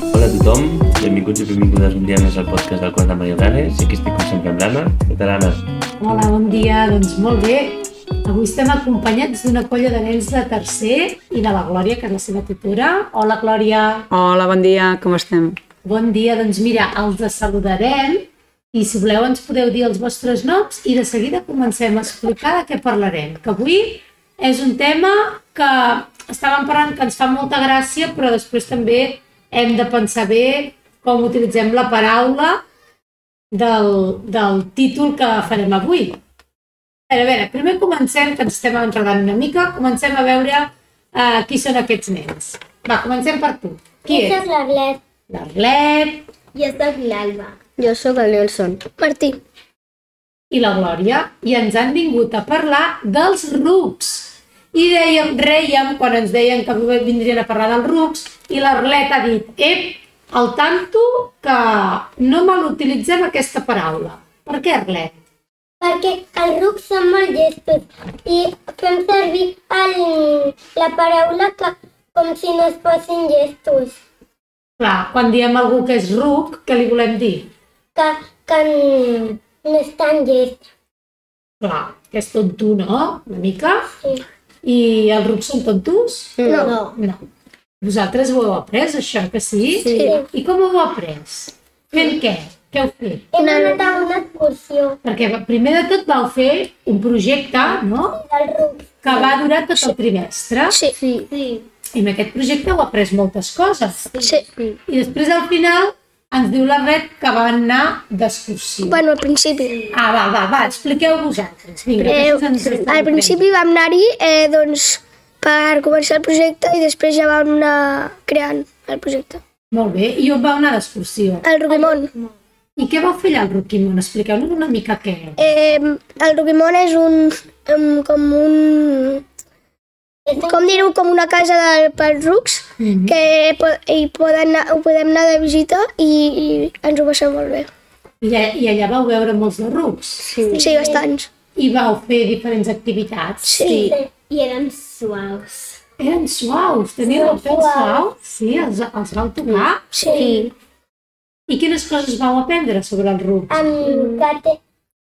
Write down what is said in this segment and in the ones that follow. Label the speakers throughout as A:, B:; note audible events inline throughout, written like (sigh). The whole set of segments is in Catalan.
A: tothom, benvinguts i benvingudes un dia més al podcast del Quart de Marionanes. Aquí estic com sempre amb l'Anna. Què tal, Anna?
B: Hola, bon dia. Doncs molt bé. Avui estem acompanyats d'una colla de nens de tercer i de la Glòria, que és la seva tutora. Hola, Glòria.
C: Hola, bon dia, com estem?
B: Bon dia. Doncs mira, els saludarem i si voleu ens podeu dir els vostres noms i de seguida comencem a explicar de què parlarem. Que avui és un tema que estàvem parlant que ens fa molta gràcia, però després també hem de pensar bé com utilitzem la paraula del, del títol que farem avui. A veure, a veure, primer comencem, que ens estem enredant una mica, comencem a veure eh, qui són aquests nens. Va, comencem per tu. Qui
D: Esta
B: és?
D: es la Gleb.
B: L'Arlet
D: Y esta es la Alba.
E: Jo sóc el Nelson.
D: Martí.
B: i la Glòria i ens han vingut a parlar dels rucs. I dèiem, reiem quan ens deien que avui vindrien a parlar dels rucs i l'Arlet ha dit, ep, al tanto que no mal utilitzem aquesta paraula. Per què, Arlet?
D: Perquè els rucs són molt llestos i fem servir el, la paraula que, com si no es fossin llestos,
B: Clar, quan diem a algú que és ruc, què li volem dir?
D: que, que n- no és tan llest.
B: Clar, que és tonto, no? Una mica.
D: Sí.
B: I els rucs són tontos?
E: Mm.
D: No.
B: No. Vosaltres ho heu après, això, que sí?
D: Sí.
B: I com ho heu après? Fent què? Què heu fet?
D: Hem anat a una excursió
B: Perquè primer de tot vau fer un projecte, no?,
D: dels rucs.
B: que va durar tot el trimestre.
E: Sí. Sí.
D: Sí.
B: I en aquest projecte heu après moltes coses.
E: sí.
B: I després, al final, ens diu la Red que van anar d'excursió.
E: Bueno, al principi.
B: Ah, va, va, va, expliqueu vosaltres. Vinga,
E: Eh,
B: que ens estan
E: al principi vam anar-hi eh, doncs, per començar el projecte i després ja vam anar creant el projecte.
B: fent. Molt bé, i on vau anar d'excursió?
E: El Roquimón.
B: I què vau fer allà al Roquimón? Expliqueu-nos una mica què.
E: Eh, el Roquimón és un, em, com un... Com dir-ho, com una casa de, pels rucs,
B: Mhm.
E: que po hi poden anar, ho podem anar de visita i, i ens ho passem molt bé.
B: I, a- I allà vau veure molts de rucs.
E: Sí, sí bastants.
B: I vau fer diferents activitats.
E: Sí.
D: I eren suaus.
B: Eren suaus, teníeu el peu suau. Sí, els, els vau tocar.
E: Sí.
B: I quines coses vau aprendre sobre el ruc?
D: Amb, que, te,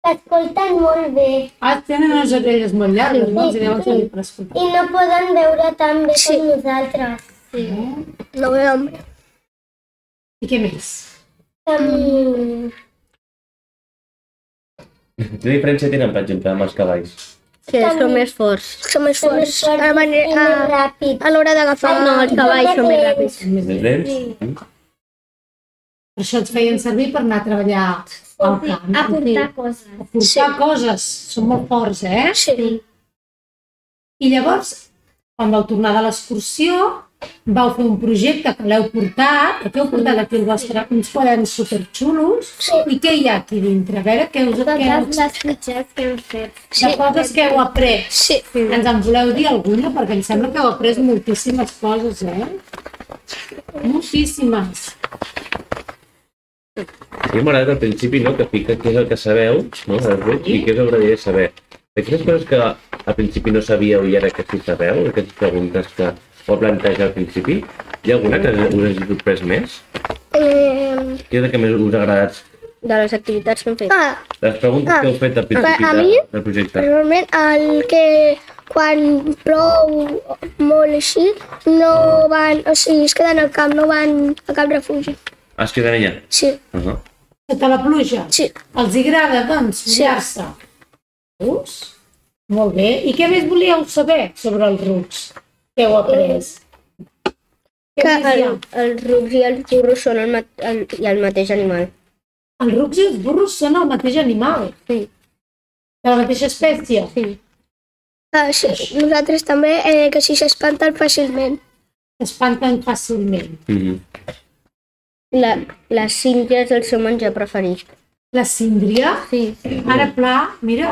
D: que escolten molt bé
B: Ah, tenen les orelles molt llargues, no? Els hi deuen servir per escoltar.
D: i no poden veure tan bé
E: Sí.
D: com nosaltres. Sí.
E: No ve hombre.
B: I què més?
D: Um,
A: Quina diferència tenen, per exemple, amb els cavalls?
F: Sí, són més forts.
E: Som més
D: són
E: forts.
D: més
E: A, la
D: forts i
E: manera,
D: més
E: a,
D: ràpids.
E: a l'hora d'agafar...
D: No,
F: els cavalls són més ràpids.
B: Són més
A: Més
B: bé.
A: lents?
D: Sí.
A: Mm?
B: Per això ens feien servir per anar a treballar al camp.
D: A portar
B: Sí.
D: coses.
B: A portar
E: Sí.
B: coses. Són molt forts, eh?
E: Sí.
B: I llavors, quan vau tornar de l'excursió, vau fer un projecte que l'heu portat, que heu portat aquí el vostre, uns quaderns superxulos, i què hi ha aquí dintre? A veure, què us,
E: Doncs
B: què
D: Totes
B: us,
D: les fitxes que hem fet.
B: de coses que heu après.
E: Sí.
B: Ens en voleu dir alguna? Perquè em sembla que heu après moltíssimes coses, eh? Moltíssimes.
A: A mi m'ha agradat al principi, no?, que fica què és el que sabeu, no?, dels rucs, i què us agradaria saber. De quines coses que al principi no sabíeu i ara que sí sabeu, aquestes preguntes que vau plantejar al principi, hi ha alguna que us hagi sorprès més?
E: Eh,
A: Què és el que més us ha agradat?
F: De les activitats que hem fet.
E: ah,
A: Les preguntes que heu fet al principi
E: a
A: de,
E: mi-
A: del projecte.
E: normalment el que quan plou molt així no van, o sigui, es queden al camp, no van a cap refugi.
A: Ah, Es queden allà.
E: Sí,
A: Uh -huh.
B: Sota la pluja.
E: sí.
B: Els hi agrada, doncs, mullar-se. Us? Molt bé. I què més volíeu saber sobre els rucs? Què heu après? Què
E: Que-
B: més hi ha?
F: Els rucs i els burros són el, ma- el, i el mateix animal.
B: Els rucs i els burros són el mateix animal.
F: Sí.
B: De la mateixa espècie.
F: Sí.
E: Ah, sí. Nosaltres també, eh, que si s'espanten fàcilment.
B: S'espanten fàcilment.
A: Mm -hmm.
F: La, les cínquies és el seu menjar preferit.
B: La síndria,
F: Sí.
B: ara pla, mira,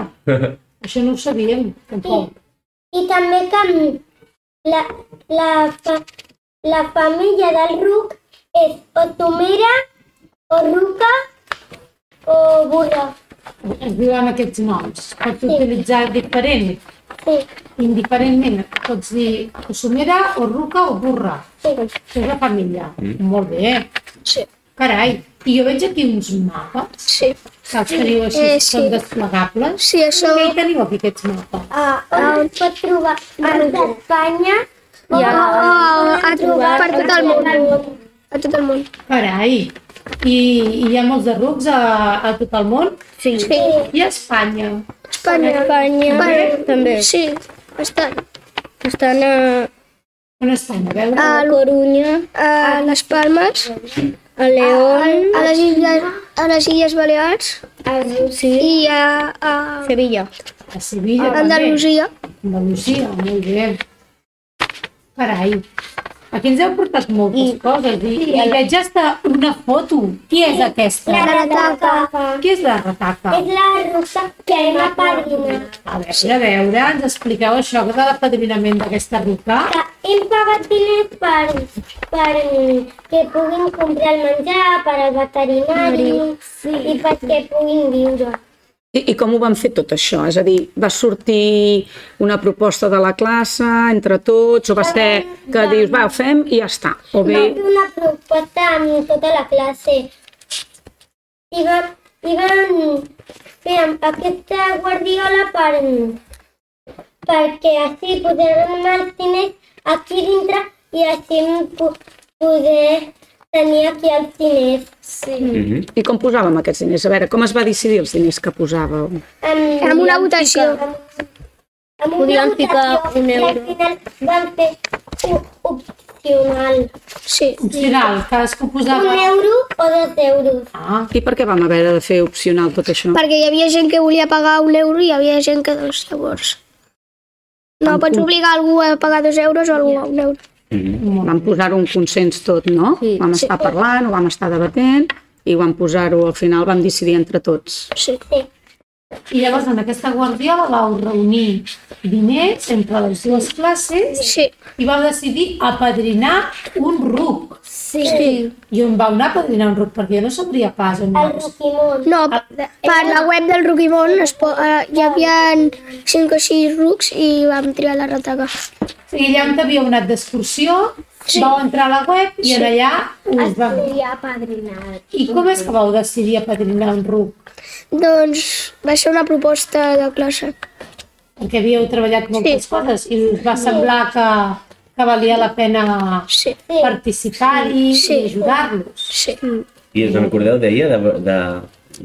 B: això no ho sabíem, tampoc.
D: I també que mm, la, la, fa, la família del ruc és o tomera, o ruca, o burra.
B: Es diuen aquests noms. Pots utilitzar diferent,
D: Sí,
B: indiferentment. Pots dir o somera, o ruca, o burra.
D: sí.
B: Això és la família. Molt bé.
E: Sí,
B: Carai, i jo veig aquí uns mapes,
E: sí.
B: que els teniu així,
E: Eh,
B: eh,
E: sí.
B: sí. són desplegables.
E: Sí, això...
B: Què hi teniu aquí, aquests mapes?
D: Ah, on es pot trobar map d'Espanya
E: Oh, oh, oh, a, per tot el món. A tot el món.
B: Carai, i, i hi ha molts de rucs a, a tot el món
F: Sí.
E: Sí.
B: i a Espanya.
E: Espanya.
F: Espanya
E: Per-
F: també.
E: Sí, bastant.
F: Estan a,
B: On estan? A veure,
F: a
B: ah,
F: Corunya,
E: A les Palmes,
F: a León,
E: a les Illes, a les illes Balears
F: sí,
E: i a, a
F: Sevilla.
B: a Sevilla,
E: Andalusia.
B: també. Andalusia, molt bé. Carai, aquí ens heu portat moltes I, coses. I, i, veig hasta una foto. Qui és aquesta?
D: retaca.
B: Qui és la retaca?
D: És la ruta que hem apadrinat.
B: A veure, a veure, ens expliqueu això de l'apadrinament d'aquesta ruca.
D: Que Hem pagat diners per, per que puguin comprar el menjar, per al veterinari i perquè puguin viure.
C: I, I com ho van fer tot això? És a dir, va sortir una proposta de la classe entre tots o va ser que dius, va, ho fem i ja està? O bé,
D: Vam fer una proposta amb tota la classe. I vam, i vam fer amb aquesta guardiola per, perquè així posarem els diners aquí dintre i així po- poder tenir aquí els diners. Sí.
A: Mhm.
C: i com posàvem aquests diners? A veure, com es va decidir els diners que posàveu?
D: Amb,
E: Amb una votació.
D: amb una
F: Podíem ficar
D: votació
F: un
D: que
F: euro.
D: Al final vam fer o- opcional.
E: Sí.
B: Opcional, cadascú
D: Un
B: posava...
D: euro o dos euros.
B: Ah,
C: I per què vam haver de fer opcional tot això?
E: Perquè hi havia gent que volia pagar un euro i hi havia gent que dos llavors. No pots obligar algú a pagar dos euros o algú a un euro.
A: Mhm.
C: Vam posar-ho en consens tot, no?
F: Sí.
C: Vam estar parlant, ho vam estar debatent i vam posar-ho, al final vam decidir entre tots.
E: Sí.
D: Sí.
B: i llavors en aquesta guardiola vau reunir diners entre les dues classes
E: Sí.
B: i vau decidir apadrinar un ruc.
D: Sí. sí.
B: I on vau anar a apadrinar un ruc? Perquè jo no sabria pas on
D: El
B: anar.
D: Roquimont.
E: No, per la web del Ruquimón es po eh, hi havia 5 o 6 rucs i vam triar la retaca.
B: I allà on havíeu anat d'excursió,
E: Sí. Ah,
B: vau entrar a la web i en allà us vau...
D: Seria apadrinat.
B: I com és que vau decidir apadrinar un ruc?
E: Doncs va ser una proposta de classe.
B: perquè havíeu treballat moltes coses i us va semblar que, que valia la pena
E: Sí.
B: participar-hi
E: Sí.
B: i ajudar-los.
E: Sí.
A: I us en recordeu d'ella, de, de,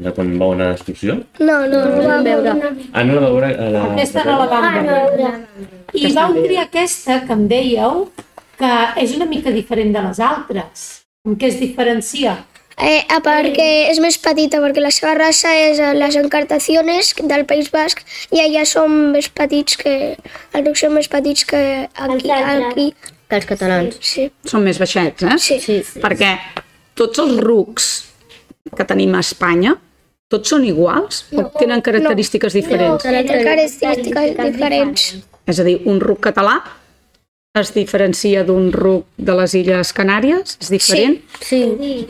A: de quan vau anar d'excursió?
E: No, no, no vam veure.
A: Ah, no la vau veure a la...
B: Aquesta no la vam
E: Ah,
B: veure. I vau triar aquesta, que em dèieu, que és una mica diferent de les altres. En què es diferencia?
E: Eh, a perquè és més petita, perquè la seva raça és a les encartaciones del País Basc i allà són més petits que... Els rucs són més petits que aquí.
D: altres.
E: aquí.
F: Que els catalans.
E: Sí,
C: Són més baixets, eh?
E: sí,
F: Sí.
C: Perquè tots els rucs que tenim a Espanya, tots són iguals o tenen característiques diferents?
E: Tenen característiques diferents.
C: És a dir, un ruc català es diferencia d'un ruc de les Illes Canàries? És diferent?
F: Sí. Eh.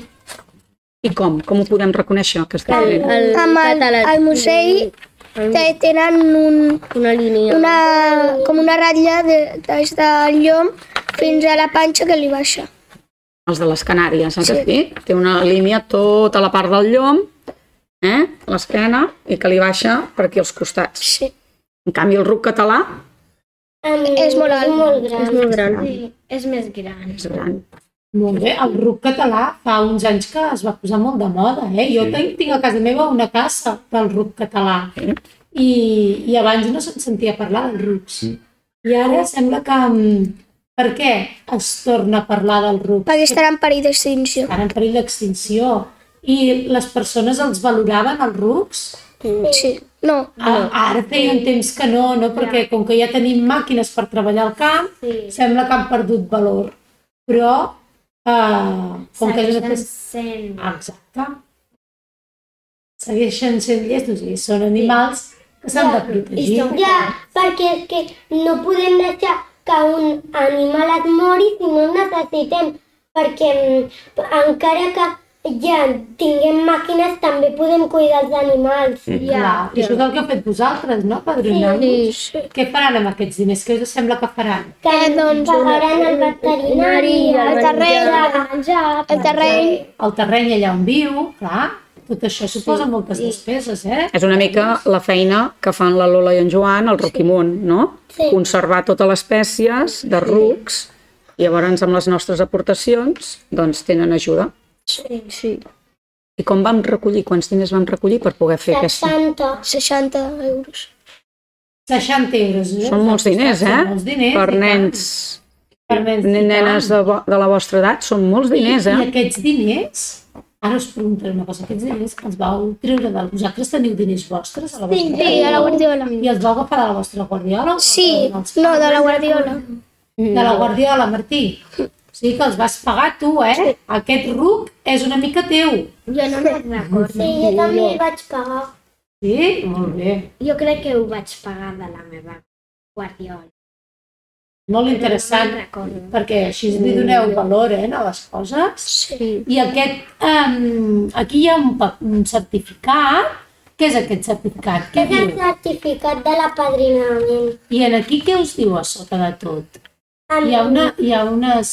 C: I com? Com ho podem reconèixer, que és
F: El,
C: diferent?
F: el
E: Amb el,
F: català.
E: el musell te- tenen un,
F: Una línia.
E: una, com una ratlla de, des del llom fins a la panxa que li baixa.
C: Els de les Canàries, eh, que sí? Té una línia tota la part del llom, eh? l'esquena, i que li baixa per aquí als costats.
E: Sí.
C: En canvi, el ruc català
E: És molt alt.
D: Molt gran.
F: És molt gran.
D: És més gran.
C: és gran.
B: Molt bé, el ruc català fa uns anys que es va posar molt de moda, eh? Jo tinc, tinc a casa meva una casa del ruc català i, i abans no se'n sentia parlar dels rucs. I ara sembla que... mm, Per què es torna a parlar del ruc?
E: Perquè estarà en perill d'extinció.
B: Estan en perill d'extinció. I les persones els valoraven, els rucs?
E: Sí. No,
B: A, ara feia un temps que no, no? Perquè com que ja tenim màquines per treballar al camp,
D: Sí.
B: sembla que han perdut valor. Però, eh, com que és una
D: Segueixen
B: qüestió
D: sent.
B: Exacte. Segueixen sent llestos i són animals que s'han de protegir.
D: Ja, perquè és que no podem deixar que un animal et mori si no el necessitem, perquè mm, encara que ja tinguem màquines també podem cuidar els animals.
A: Mm.
D: Ja.
B: Clar, I això és el que heu fet vosaltres, no, padrinar-nos? Què faran amb aquests diners? Què us sembla que faran?
D: Que
E: Eh, doncs,
D: pagaran el veterinari,
E: el
D: el
E: terreny,
D: menjar,
E: el terreny,
B: El terreny allà on viu, clar, tot això suposa moltes despeses, eh?
C: És una mica la feina que fan la Lola i en Joan al Roquimont, no?
D: Sí.
C: Conservar totes les espècies de rucs i llavors amb les nostres aportacions doncs tenen ajuda.
F: Sí.
C: I com vam recollir, quants diners vam recollir per poder fer aquesta?
D: 60.
E: 60 euros.
B: 60 euros. Eh?
C: Són molts diners, eh?
B: Són molts diners.
C: Per
B: i tant.
C: nens,
B: Per nens. i
C: nenes
B: tant.
C: de, vo- de la vostra edat, són molts diners,
B: I
C: eh?
B: aquests diners, ara us preguntaré una cosa, aquests diners que els vau treure de... Vosaltres teniu diners vostres a la vostra
E: Sí, a la guardiola.
B: I els vau agafar de la vostra guardiola? o
E: Sí,
B: dels
E: no, de la
B: pares?
E: guardiola.
B: De la guardiola, Martí. O sigui que els vas pagar tu, eh? Aquest ruc és una mica teu.
F: Jo no me'n recordo.
D: Sí, jo també el vaig pagar.
B: Sí? Molt bé.
F: Jo crec que ho vaig pagar de la meva guardiola.
B: Molt interessant,
F: recordo.
B: perquè així li doneu valor eh, a les coses.
E: Sí.
B: I aquest, um, aquí hi ha un, pa- un certificat. Què és aquest certificat? Què
D: És el
B: diu?
D: certificat de l'apadrinament.
B: I en aquí què us diu a sota de tot?
D: Amb-
B: Hi ha, una, hi ha unes,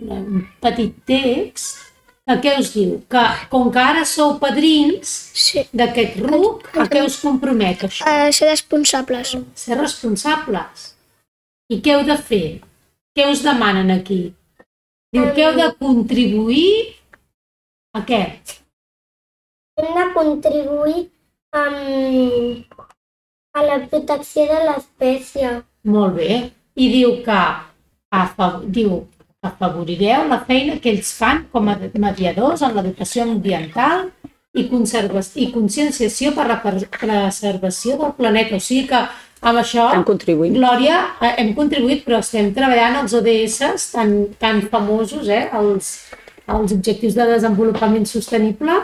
B: un petit text que què us diu? Que com que ara sou padrins
E: Sí.
B: d'aquest RUC, a què us compromet això?
E: A ser responsables.
B: ser responsables. I què heu de fer? Què us demanen aquí? Diu que heu de contribuir a què?
D: Hem de contribuir amb... a la protecció de l'espècie.
B: Molt bé. I diu que afav diu, que afavorireu la feina que ells fan com a mediadors en l'educació ambiental i, conserva i conscienciació per la per- preservació del planeta. O sigui que amb això...
C: Estan contribuint.
B: Glòria, eh, hem contribuït, però estem treballant els ODS tan, tan famosos, eh, els, els Objectius de Desenvolupament Sostenible,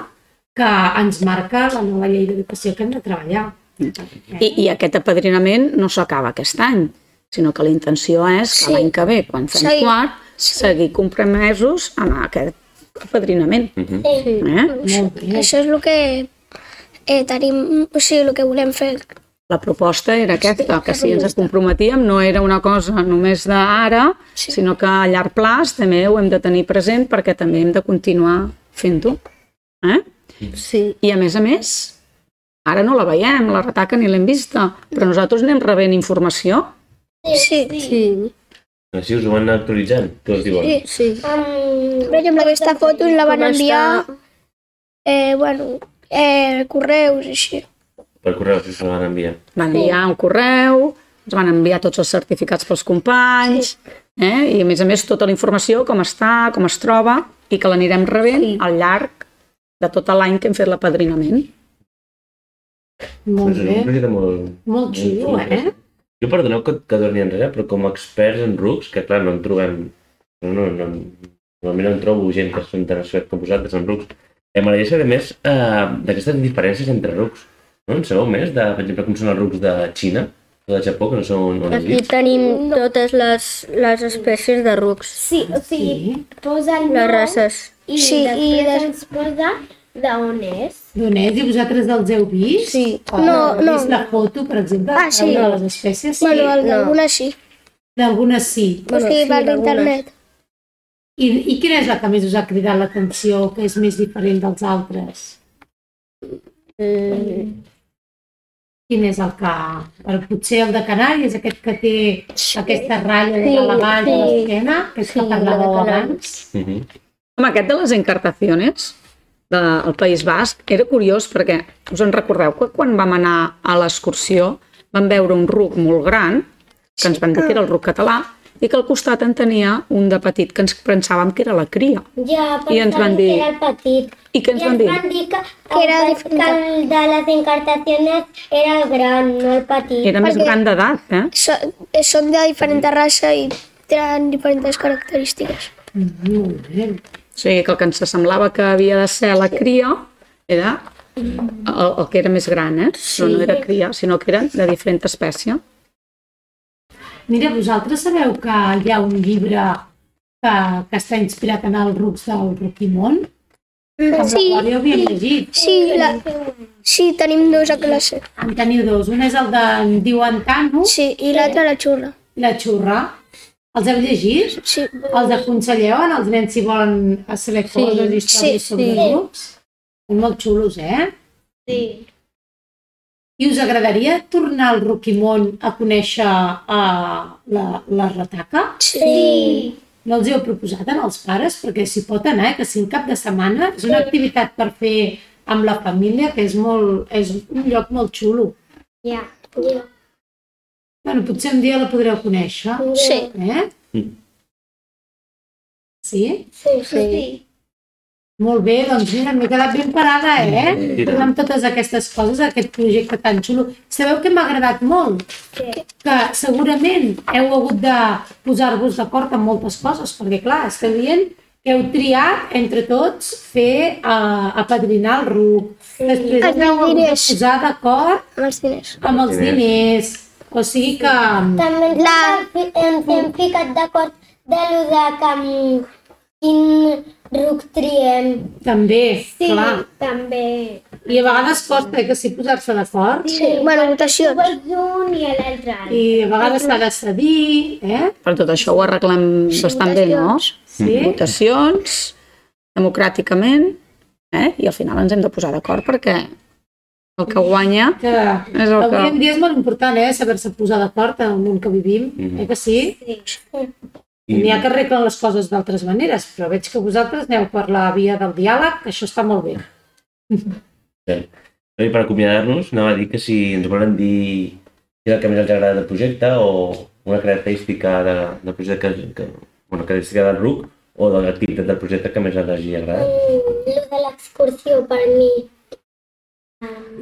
B: que ens marca la nova llei d'educació que hem de treballar.
C: I, I aquest apadrinament no s'acaba aquest any, sinó que la intenció és que
E: Sí.
C: l'any que ve, quan fem
E: Seguir.
C: quart, seguir compromesos amb aquest apadrinament.
D: Sí.
C: Eh?
B: Molt bé.
E: Això és el que eh, tenim, o sigui, el que volem fer.
C: La proposta era aquesta, que si ens comprometíem no era una cosa només d'ara,
E: Sí.
C: sinó que a llarg plaç també ho hem de tenir present perquè també hem de continuar fent-ho. Eh?
F: Sí.
C: I a més a més, ara no la veiem, la retaca ni l'hem vista, però nosaltres anem rebent informació
E: Sí.
F: Sí.
A: Així us ho van actualitzant, que us diuen.
E: Sí.
F: Sí.
D: Amb...
E: Per exemple, aquesta foto la van
F: Com
E: enviar, eh, bueno, eh, correus, així.
A: Per correu, si us la van enviar.
C: Van enviar un correu, ens van enviar tots els certificats pels companys, eh? i a més a més tota la informació, com està, com es troba, i que l'anirem rebent al llarg de tot l'any que hem fet l'apadrinament.
B: Molt
A: És
B: bé.
A: un projecte molt...
B: Molt xulo, eh?
A: Jo perdoneu que, que torni enrere, però com a experts en rucs, que clar, no en trobem... No, no, no, normalment no en trobo gent que són tan experts com vosaltres en rucs. Eh, M'agradaria saber més eh, d'aquestes diferències entre rucs. No en sabeu més, de, per exemple, com són els rucs de Xina o de Japó, que no són on han
F: Aquí
A: vist?
F: tenim totes les, les espècies de rucs,
G: Sí, o sigui,
B: Sí.
G: posa el
F: les
G: nom
F: races.
G: i
E: Sí,
G: després
E: i des-
G: ens posa d'on és.
B: Donés, i vosaltres els heu vist?
F: Sí.
B: O
E: No,
B: heu
E: no.
B: vist la foto, per exemple,
E: Ah, sí.
B: de les espècies? Sí.
E: Bueno, alguna sí.
B: D'algunes sí.
E: O sigui, per l'internet.
B: I, I quina és la que més us ha cridat l'atenció, que és més diferent dels altres?
E: Eh.
B: Quin és el que... Però potser el de Canàries, aquest que té aquesta ratlla de la mà i a l'esquena, que és que parlàveu abans.
A: Uh -huh.
C: Home, aquest de les encartaciones del País Basc era curiós perquè, us en recordeu, que quan vam anar a l'excursió vam veure un ruc molt gran, que ens van dir que era el ruc català, i que al costat en tenia un de petit que ens pensàvem que era la cria.
D: Ja
C: I ens van
D: pensàvem
C: dir-
D: que era el petit.
C: I què ens
D: I
C: van
D: ens
C: dir?
D: van dir que,
E: Que era
D: el,
E: diferent.
D: que el de les encartacions era el gran, no el petit.
C: Era més gran d'edat, eh?
E: So, eh, són de diferent raça i tenen diferents característiques.
B: Molt bé.
C: O sigui, que el que ens semblava que havia de ser la cria era el, el que era més gran, eh? No, no era cria, sinó que era de diferent espècie.
B: Mira, vosaltres sabeu que hi ha un llibre que, que està inspirat en els rucs del Roquimont?
E: Sí,
B: Jo havíem llegit.
E: sí, la... sí, tenim dos a classe.
B: En teniu dos. Un és el de en diuen Cano,
E: Sí, i l'altra la xurra.
B: la xurra. Els heu llegit?
E: Sí,
B: Els aconselleu en els nens si volen a saber sí, coses, històries sí, sobre sí. grups? Són molt xulos, eh?
G: Sí.
B: I us agradaria tornar al Roquimont a conèixer uh, la, la retaca?
E: sí.
B: No els hi heu proposat als pares perquè s'hi pot anar, eh? que si un cap de setmana és una activitat per fer amb la família, que és, molt, és un lloc molt xulo.
G: Ja.
B: Bueno, potser un dia la podreu conèixer,
E: sí.
B: eh?
A: Mm.
B: Sí?
D: Sí, sí.
B: Molt bé, doncs mira, m'he quedat ben parada, eh?
A: I tant.
B: Amb totes aquestes coses, aquest projecte tan xulo. Sabeu que m'ha agradat molt? Que segurament heu hagut de posar-vos d'acord amb moltes coses, perquè clar, esteu dient que heu triat entre tots fer uh, apadrinar el RUC. Després
E: Els
B: us heu hagut de
E: diners.
B: posar d'acord
E: amb els diners.
B: amb els
A: Diners.
B: diners. O sigui que... mm,
D: També ens
E: La-
D: hem fi- ens hem ficat d'acord de lo de que mm, quin ruc triem.
B: També, sí. clar.
G: també.
B: I a vegades costa eh, que sí posar-se d'acord
E: Sí. Bueno, votacions.
G: Vols un i l'altre.
B: i a vegades s'ha de cedir, eh?
C: Però tot això ho arreglem bastant bé, no?
B: Sí.
A: Mhm.
C: Votacions, democràticament, eh? i al final ens hem de posar d'acord perquè el que guanya
B: que
C: és el
B: avui en
C: que...
B: dia és molt important eh, saber-se posar d'acord en el món que vivim, mm
A: Mhm.
B: -hmm. eh que sí?
A: I-
B: N'hi ha que arreglen les coses d'altres maneres, però veig que vosaltres aneu per la via del diàleg, que això està molt bé.
A: I per acomiadar-nos, anava a dir que si ens volen dir què és el que més els agrada del projecte o una característica de, del projecte que, que una característica del RUC o de l'activitat del projecte que més els hagi agradat.
D: Mm, Lo de l'excursió per mi.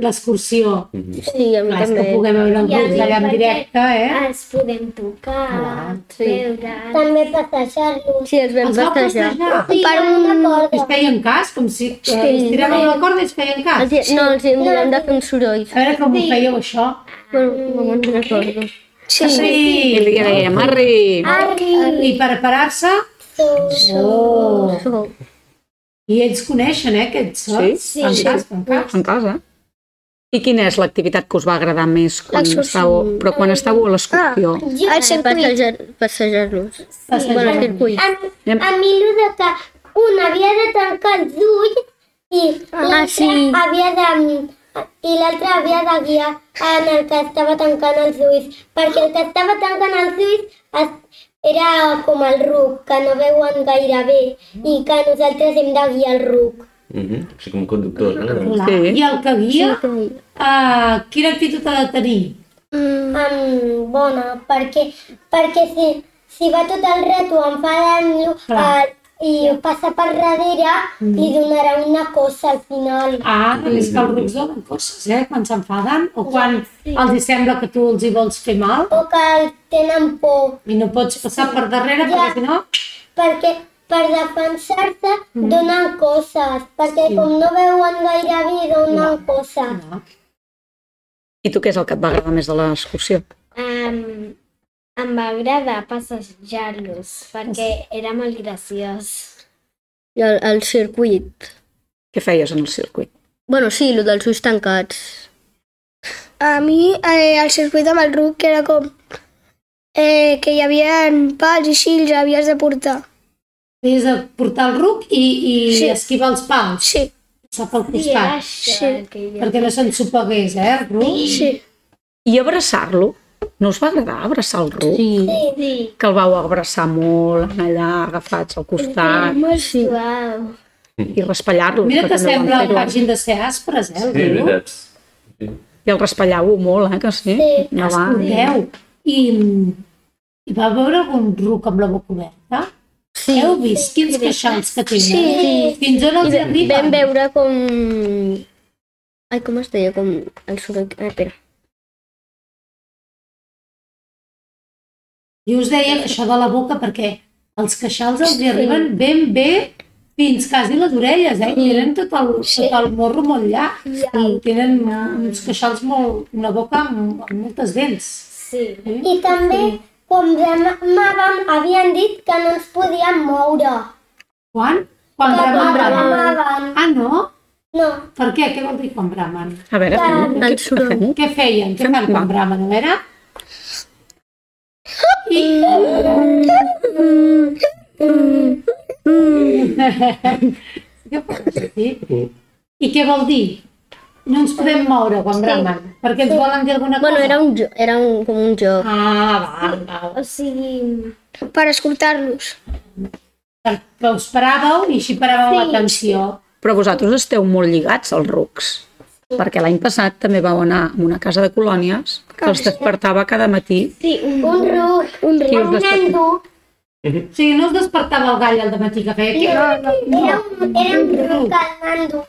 B: L'excursió,
A: Mhm.
F: Sí, a mi
B: clar, és que
F: també.
B: puguem veure el
G: I a
B: grup
G: mi
B: d'allà en
G: perquè-
B: directe, eh?
G: Ens podem tocar,
B: Clar,
F: sí.
G: veure...
D: També passejar-lo.
F: Sí, els vam
B: Els vau
F: festejar.
B: festejar,
D: Sí, per un
B: es
D: record.
B: feien cas, com si eh,
F: Sí.
B: es tiraven la corda i es feien cas.
F: Els hi- Ah, No, Ah. els hi mirem de fer un soroll.
B: A veure com ho fèieu, això.
F: Bueno, no me'n recordo.
E: Sí,
C: I li
B: Sí.
C: dèiem, Arri,
B: I preparar-se... Oh. I ells coneixen, eh, aquests sots?
C: Sí.
B: En
C: Sí.
B: cas, en cas.
C: en casa. I quina és l'activitat que us va agradar més quan
E: L'excursió.
C: estàveu, però quan estàveu a l'excursió?
B: Ah.
E: el circuit.
F: Passejar- Passejar-nos.
B: Passejar.
F: Bueno, el circuit.
D: A, a mi el de que un havia de tancar els ulls i l'altre
F: sí.
D: havia de i l'altre havia de guiar en el que estava tancant els ulls, perquè el que estava tancant els ulls es, era com el ruc, que no veuen gaire bé i que nosaltres hem de guiar el ruc.
A: Mhm. O sigui, com conductors, no?
B: Clar.
C: Sí.
B: I el que guia,
F: Sí.
B: uh, quina actitud ha de tenir?
D: Mm, bona, perquè, perquè si, si va tot el rato enfadant-lo
B: Clar.
D: eh, i passa per darrere, li donarà una cosa al final.
B: Ah, és que els rucs donen coses, eh? Quan s'enfaden o quan els hi sembla que tu els hi vols fer mal
D: o que el tenen por,
B: i no pots passar per darrere perquè si no...
D: perquè per defensar-se donen coses, perquè com no veuen gaire bé donen coses.
B: no.
C: I tu què és el que et va agradar més de l'excursió?
G: Um, em va agradar passejar-los perquè era molt graciós.
F: I el, el circuit.
C: Què feies en el circuit?
F: Bueno, sí, el dels ulls tancats.
E: A mi eh, el circuit amb el RUC era com eh, que hi havia pals i així els havies de portar.
B: Tens de portar el ruc i, i
E: Sí.
B: esquivar els pals,
E: Sí,
B: passar pel
G: Sí, eh, era
B: costat,
G: això
E: Sí.
G: el que jo...
B: perquè no s'ensopegués, eh, el ruc?
E: sí.
C: I abraçar-lo? No us va agradar abraçar el ruc?
B: Sí.
G: Sí,
C: Que el vau abraçar molt, anar allà agafats al costat
G: molt suau.
C: i raspallar-lo.
B: Mira que
C: també vam
B: sembla que
C: fer-ho.
B: hagin de ser aspres, eh,
A: Sí,
B: el
A: és
B: ruc?
A: veritat.
C: I el raspallau molt, eh, que sí?
D: Sí,
C: no va.
B: Escolteu, i, i va veure algun ruc amb la boca oberta? Sí. Heu vist quins queixals que tenen?
F: Sí.
B: Fins on els
F: Vam
B: arriben?
F: veure com... Ai, com es deia? Com el soroll... Ah, espera.
B: Jo us deia això de la boca perquè els queixals els hi arriben ben bé fins quasi les orelles, eh? I tenen tot el, tot el morro molt llarg. I tenen uns queixals molt... una boca amb, amb moltes dents. Eh?
G: Sí.
D: I també quan demanàvem havien dit que no ens podíem moure.
B: Quan? Quan
D: que quan
B: bramaven.
D: bramaven.
B: Ah, no?
D: No,
B: Per què? Què vol dir quan bramen?
C: A veure, fem,
F: El
C: què
F: soroll.
C: fem?
B: Què feien? Què fan quan bramen? A veure... I... Què pots dir? I què vol dir? No ens podem moure quan bramen, perquè ens volen dir alguna cosa.
F: Bueno, era, un jo- era un, com un joc.
B: Ah, val, val.
G: O sigui,
E: per escoltar-los.
B: Que us paràveu i així paràveu
G: Sí.
B: l'atenció.
C: Però vosaltres esteu molt lligats als rucs, perquè l'any passat també vau anar a una casa de colònies que els despertava cada matí
G: sí, un
D: un ruc, un
C: Sí, us
D: nen
C: despertava.
D: dur,
B: O sigui, no us despertava el gall al matí que feia... "Qui era?"
D: era un, era un ruc al nen dur.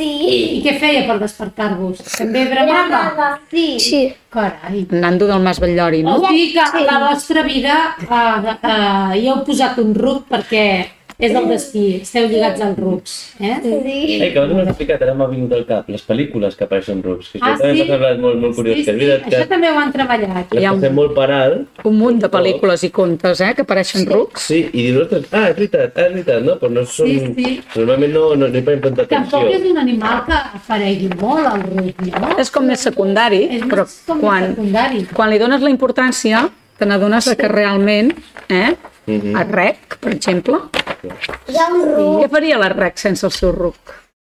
G: sí,
B: I què feia per despertar-vos? També bramava?
D: Bramava.
G: sí.
E: Sí,
B: Carai.
C: Nando del Mas Batllori, no?
B: Vol dir que a la vostra vida eh, eh, hi heu posat un ruc perquè és el destí, esteu lligats als rucs. Eh?
A: Eh, que abans m'ho has explicat, ara m'ha vingut al cap. Les pel·lícules que apareixen rucs, que això
B: Ah,
A: també
B: sí?
A: m'ha semblat molt, molt curiós.
B: Sí,
A: que és
B: sí,
A: veritat
B: això
A: que
B: també ho han treballat.
A: les
C: Hi ha un-
A: passem molt per alt,
C: Un munt de pel·lícules i contes, eh, que apareixen rucs.
A: sí, i dius, ostres, ah, és veritat, ah, és veritat, no? Però no són...
B: Sí, sí.
A: Normalment no, no, no hi parem tanta atenció.
B: Tampoc és un animal que aparegui molt al ruc, no?
C: És com més secundari,
B: És
C: però
B: més com quan...
C: quan,
B: secundari.
C: quan li dones la importància, te n'adones de que realment, eh,
A: Mhm.
C: a rec, per exemple,
D: Hi ha un ruc,
C: què faria la rec sense el seu ruc?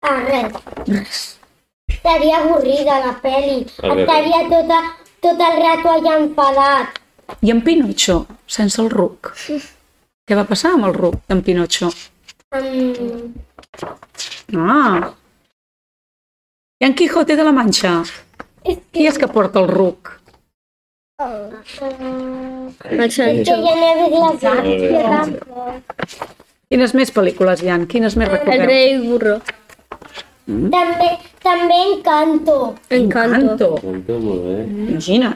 D: ah, res. Estaria avorrida la pel·li,
A: A veure.
D: estaria tota, tot el rato allà enfadat.
C: I en Pinotxo, sense el ruc? Què va passar amb el ruc d'en Pinotxo?
D: Um,
C: Ah. I en Quijote de la Manxa? Qui és que porta el ruc?
F: El
D: que
F: Sancho.
D: ja n'he vist la
A: Molt bé.
C: Quines més pel·lícules hi ha? Quines més
F: El
C: recordeu?
F: rei burro.
D: També, també Encanto.
F: Encanto.
C: Encanto.
A: Molt molt bé.
C: Imagina't.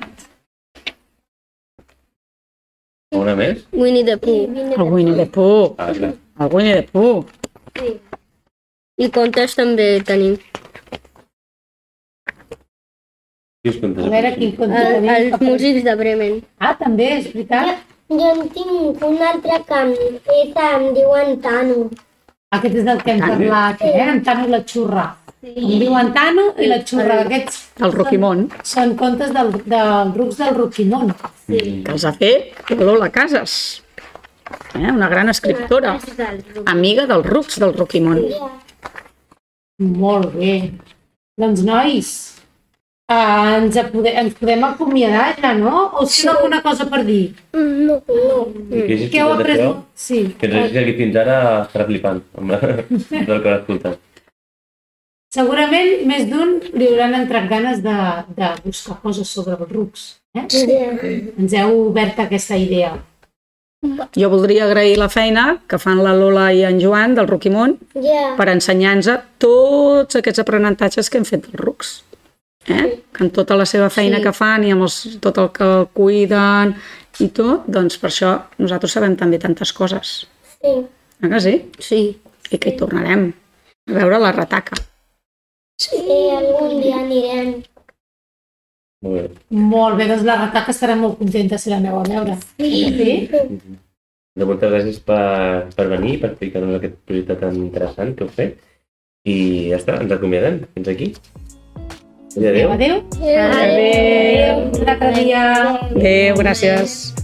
A: Una més?
F: Winnie the Pooh.
C: El Winnie the Pooh.
A: Ah, clar.
C: El Winnie the Pooh.
F: I contes també tenim.
A: Qui us contes?
B: A veure quin conte
F: El,
B: tenim.
F: els músics de Bremen.
B: Ah, també, és veritat.
D: Jo en tinc un altre camí, és, em diuen Tano.
B: Aquest és del que hem parlat, eh? Amb Tano i la xurra. Sí. Em diuen Tano i la xurra. Aquests
C: El Roquimón.
B: són contes del, del rucs del Roquimón.
C: que els ha fet Lola Casas, eh? una gran escriptora, amiga dels rucs del Roquimón.
B: Molt bé. Doncs, nois, eh, ens, apode- ens podem acomiadar ja, no? O si no, alguna cosa per dir?
E: no.
A: Què has
B: Què heu
A: explicat,
B: après?
A: això?
B: Sí.
A: Que ens hagis aquí fins ara estarà flipant (laughs) amb el que l'escolta.
B: Segurament més d'un li hauran entrat ganes de, de buscar coses sobre els rucs. Eh? Ens heu obert aquesta idea.
C: Jo voldria agrair la feina que fan la Lola i en Joan del Roquimón
D: Ja,
C: per ensenyar-nos tots aquests aprenentatges que hem fet dels rucs. Eh? Que amb tota la seva feina sí. que fan i amb els, tot el que cuiden i tot, doncs per això nosaltres sabem també tantes coses.
D: sí.
C: Eh que sí?
F: Sí.
C: I que hi tornarem a veure la retaca.
D: Sí, algun dia anirem.
A: Molt bé.
B: Molt bé, doncs la Rataca estarà molt contenta si l'aneu a veure. Sí. sí?
A: De moltes gràcies per, per venir, per explicar-nos aquest projecte tan interessant que heu fet. I ja està, ens acomiadem. Fins aquí. I adéu.
B: Adéu.
E: Adéu.
B: Adéu. Un altre dia.
C: Adéu, gràcies.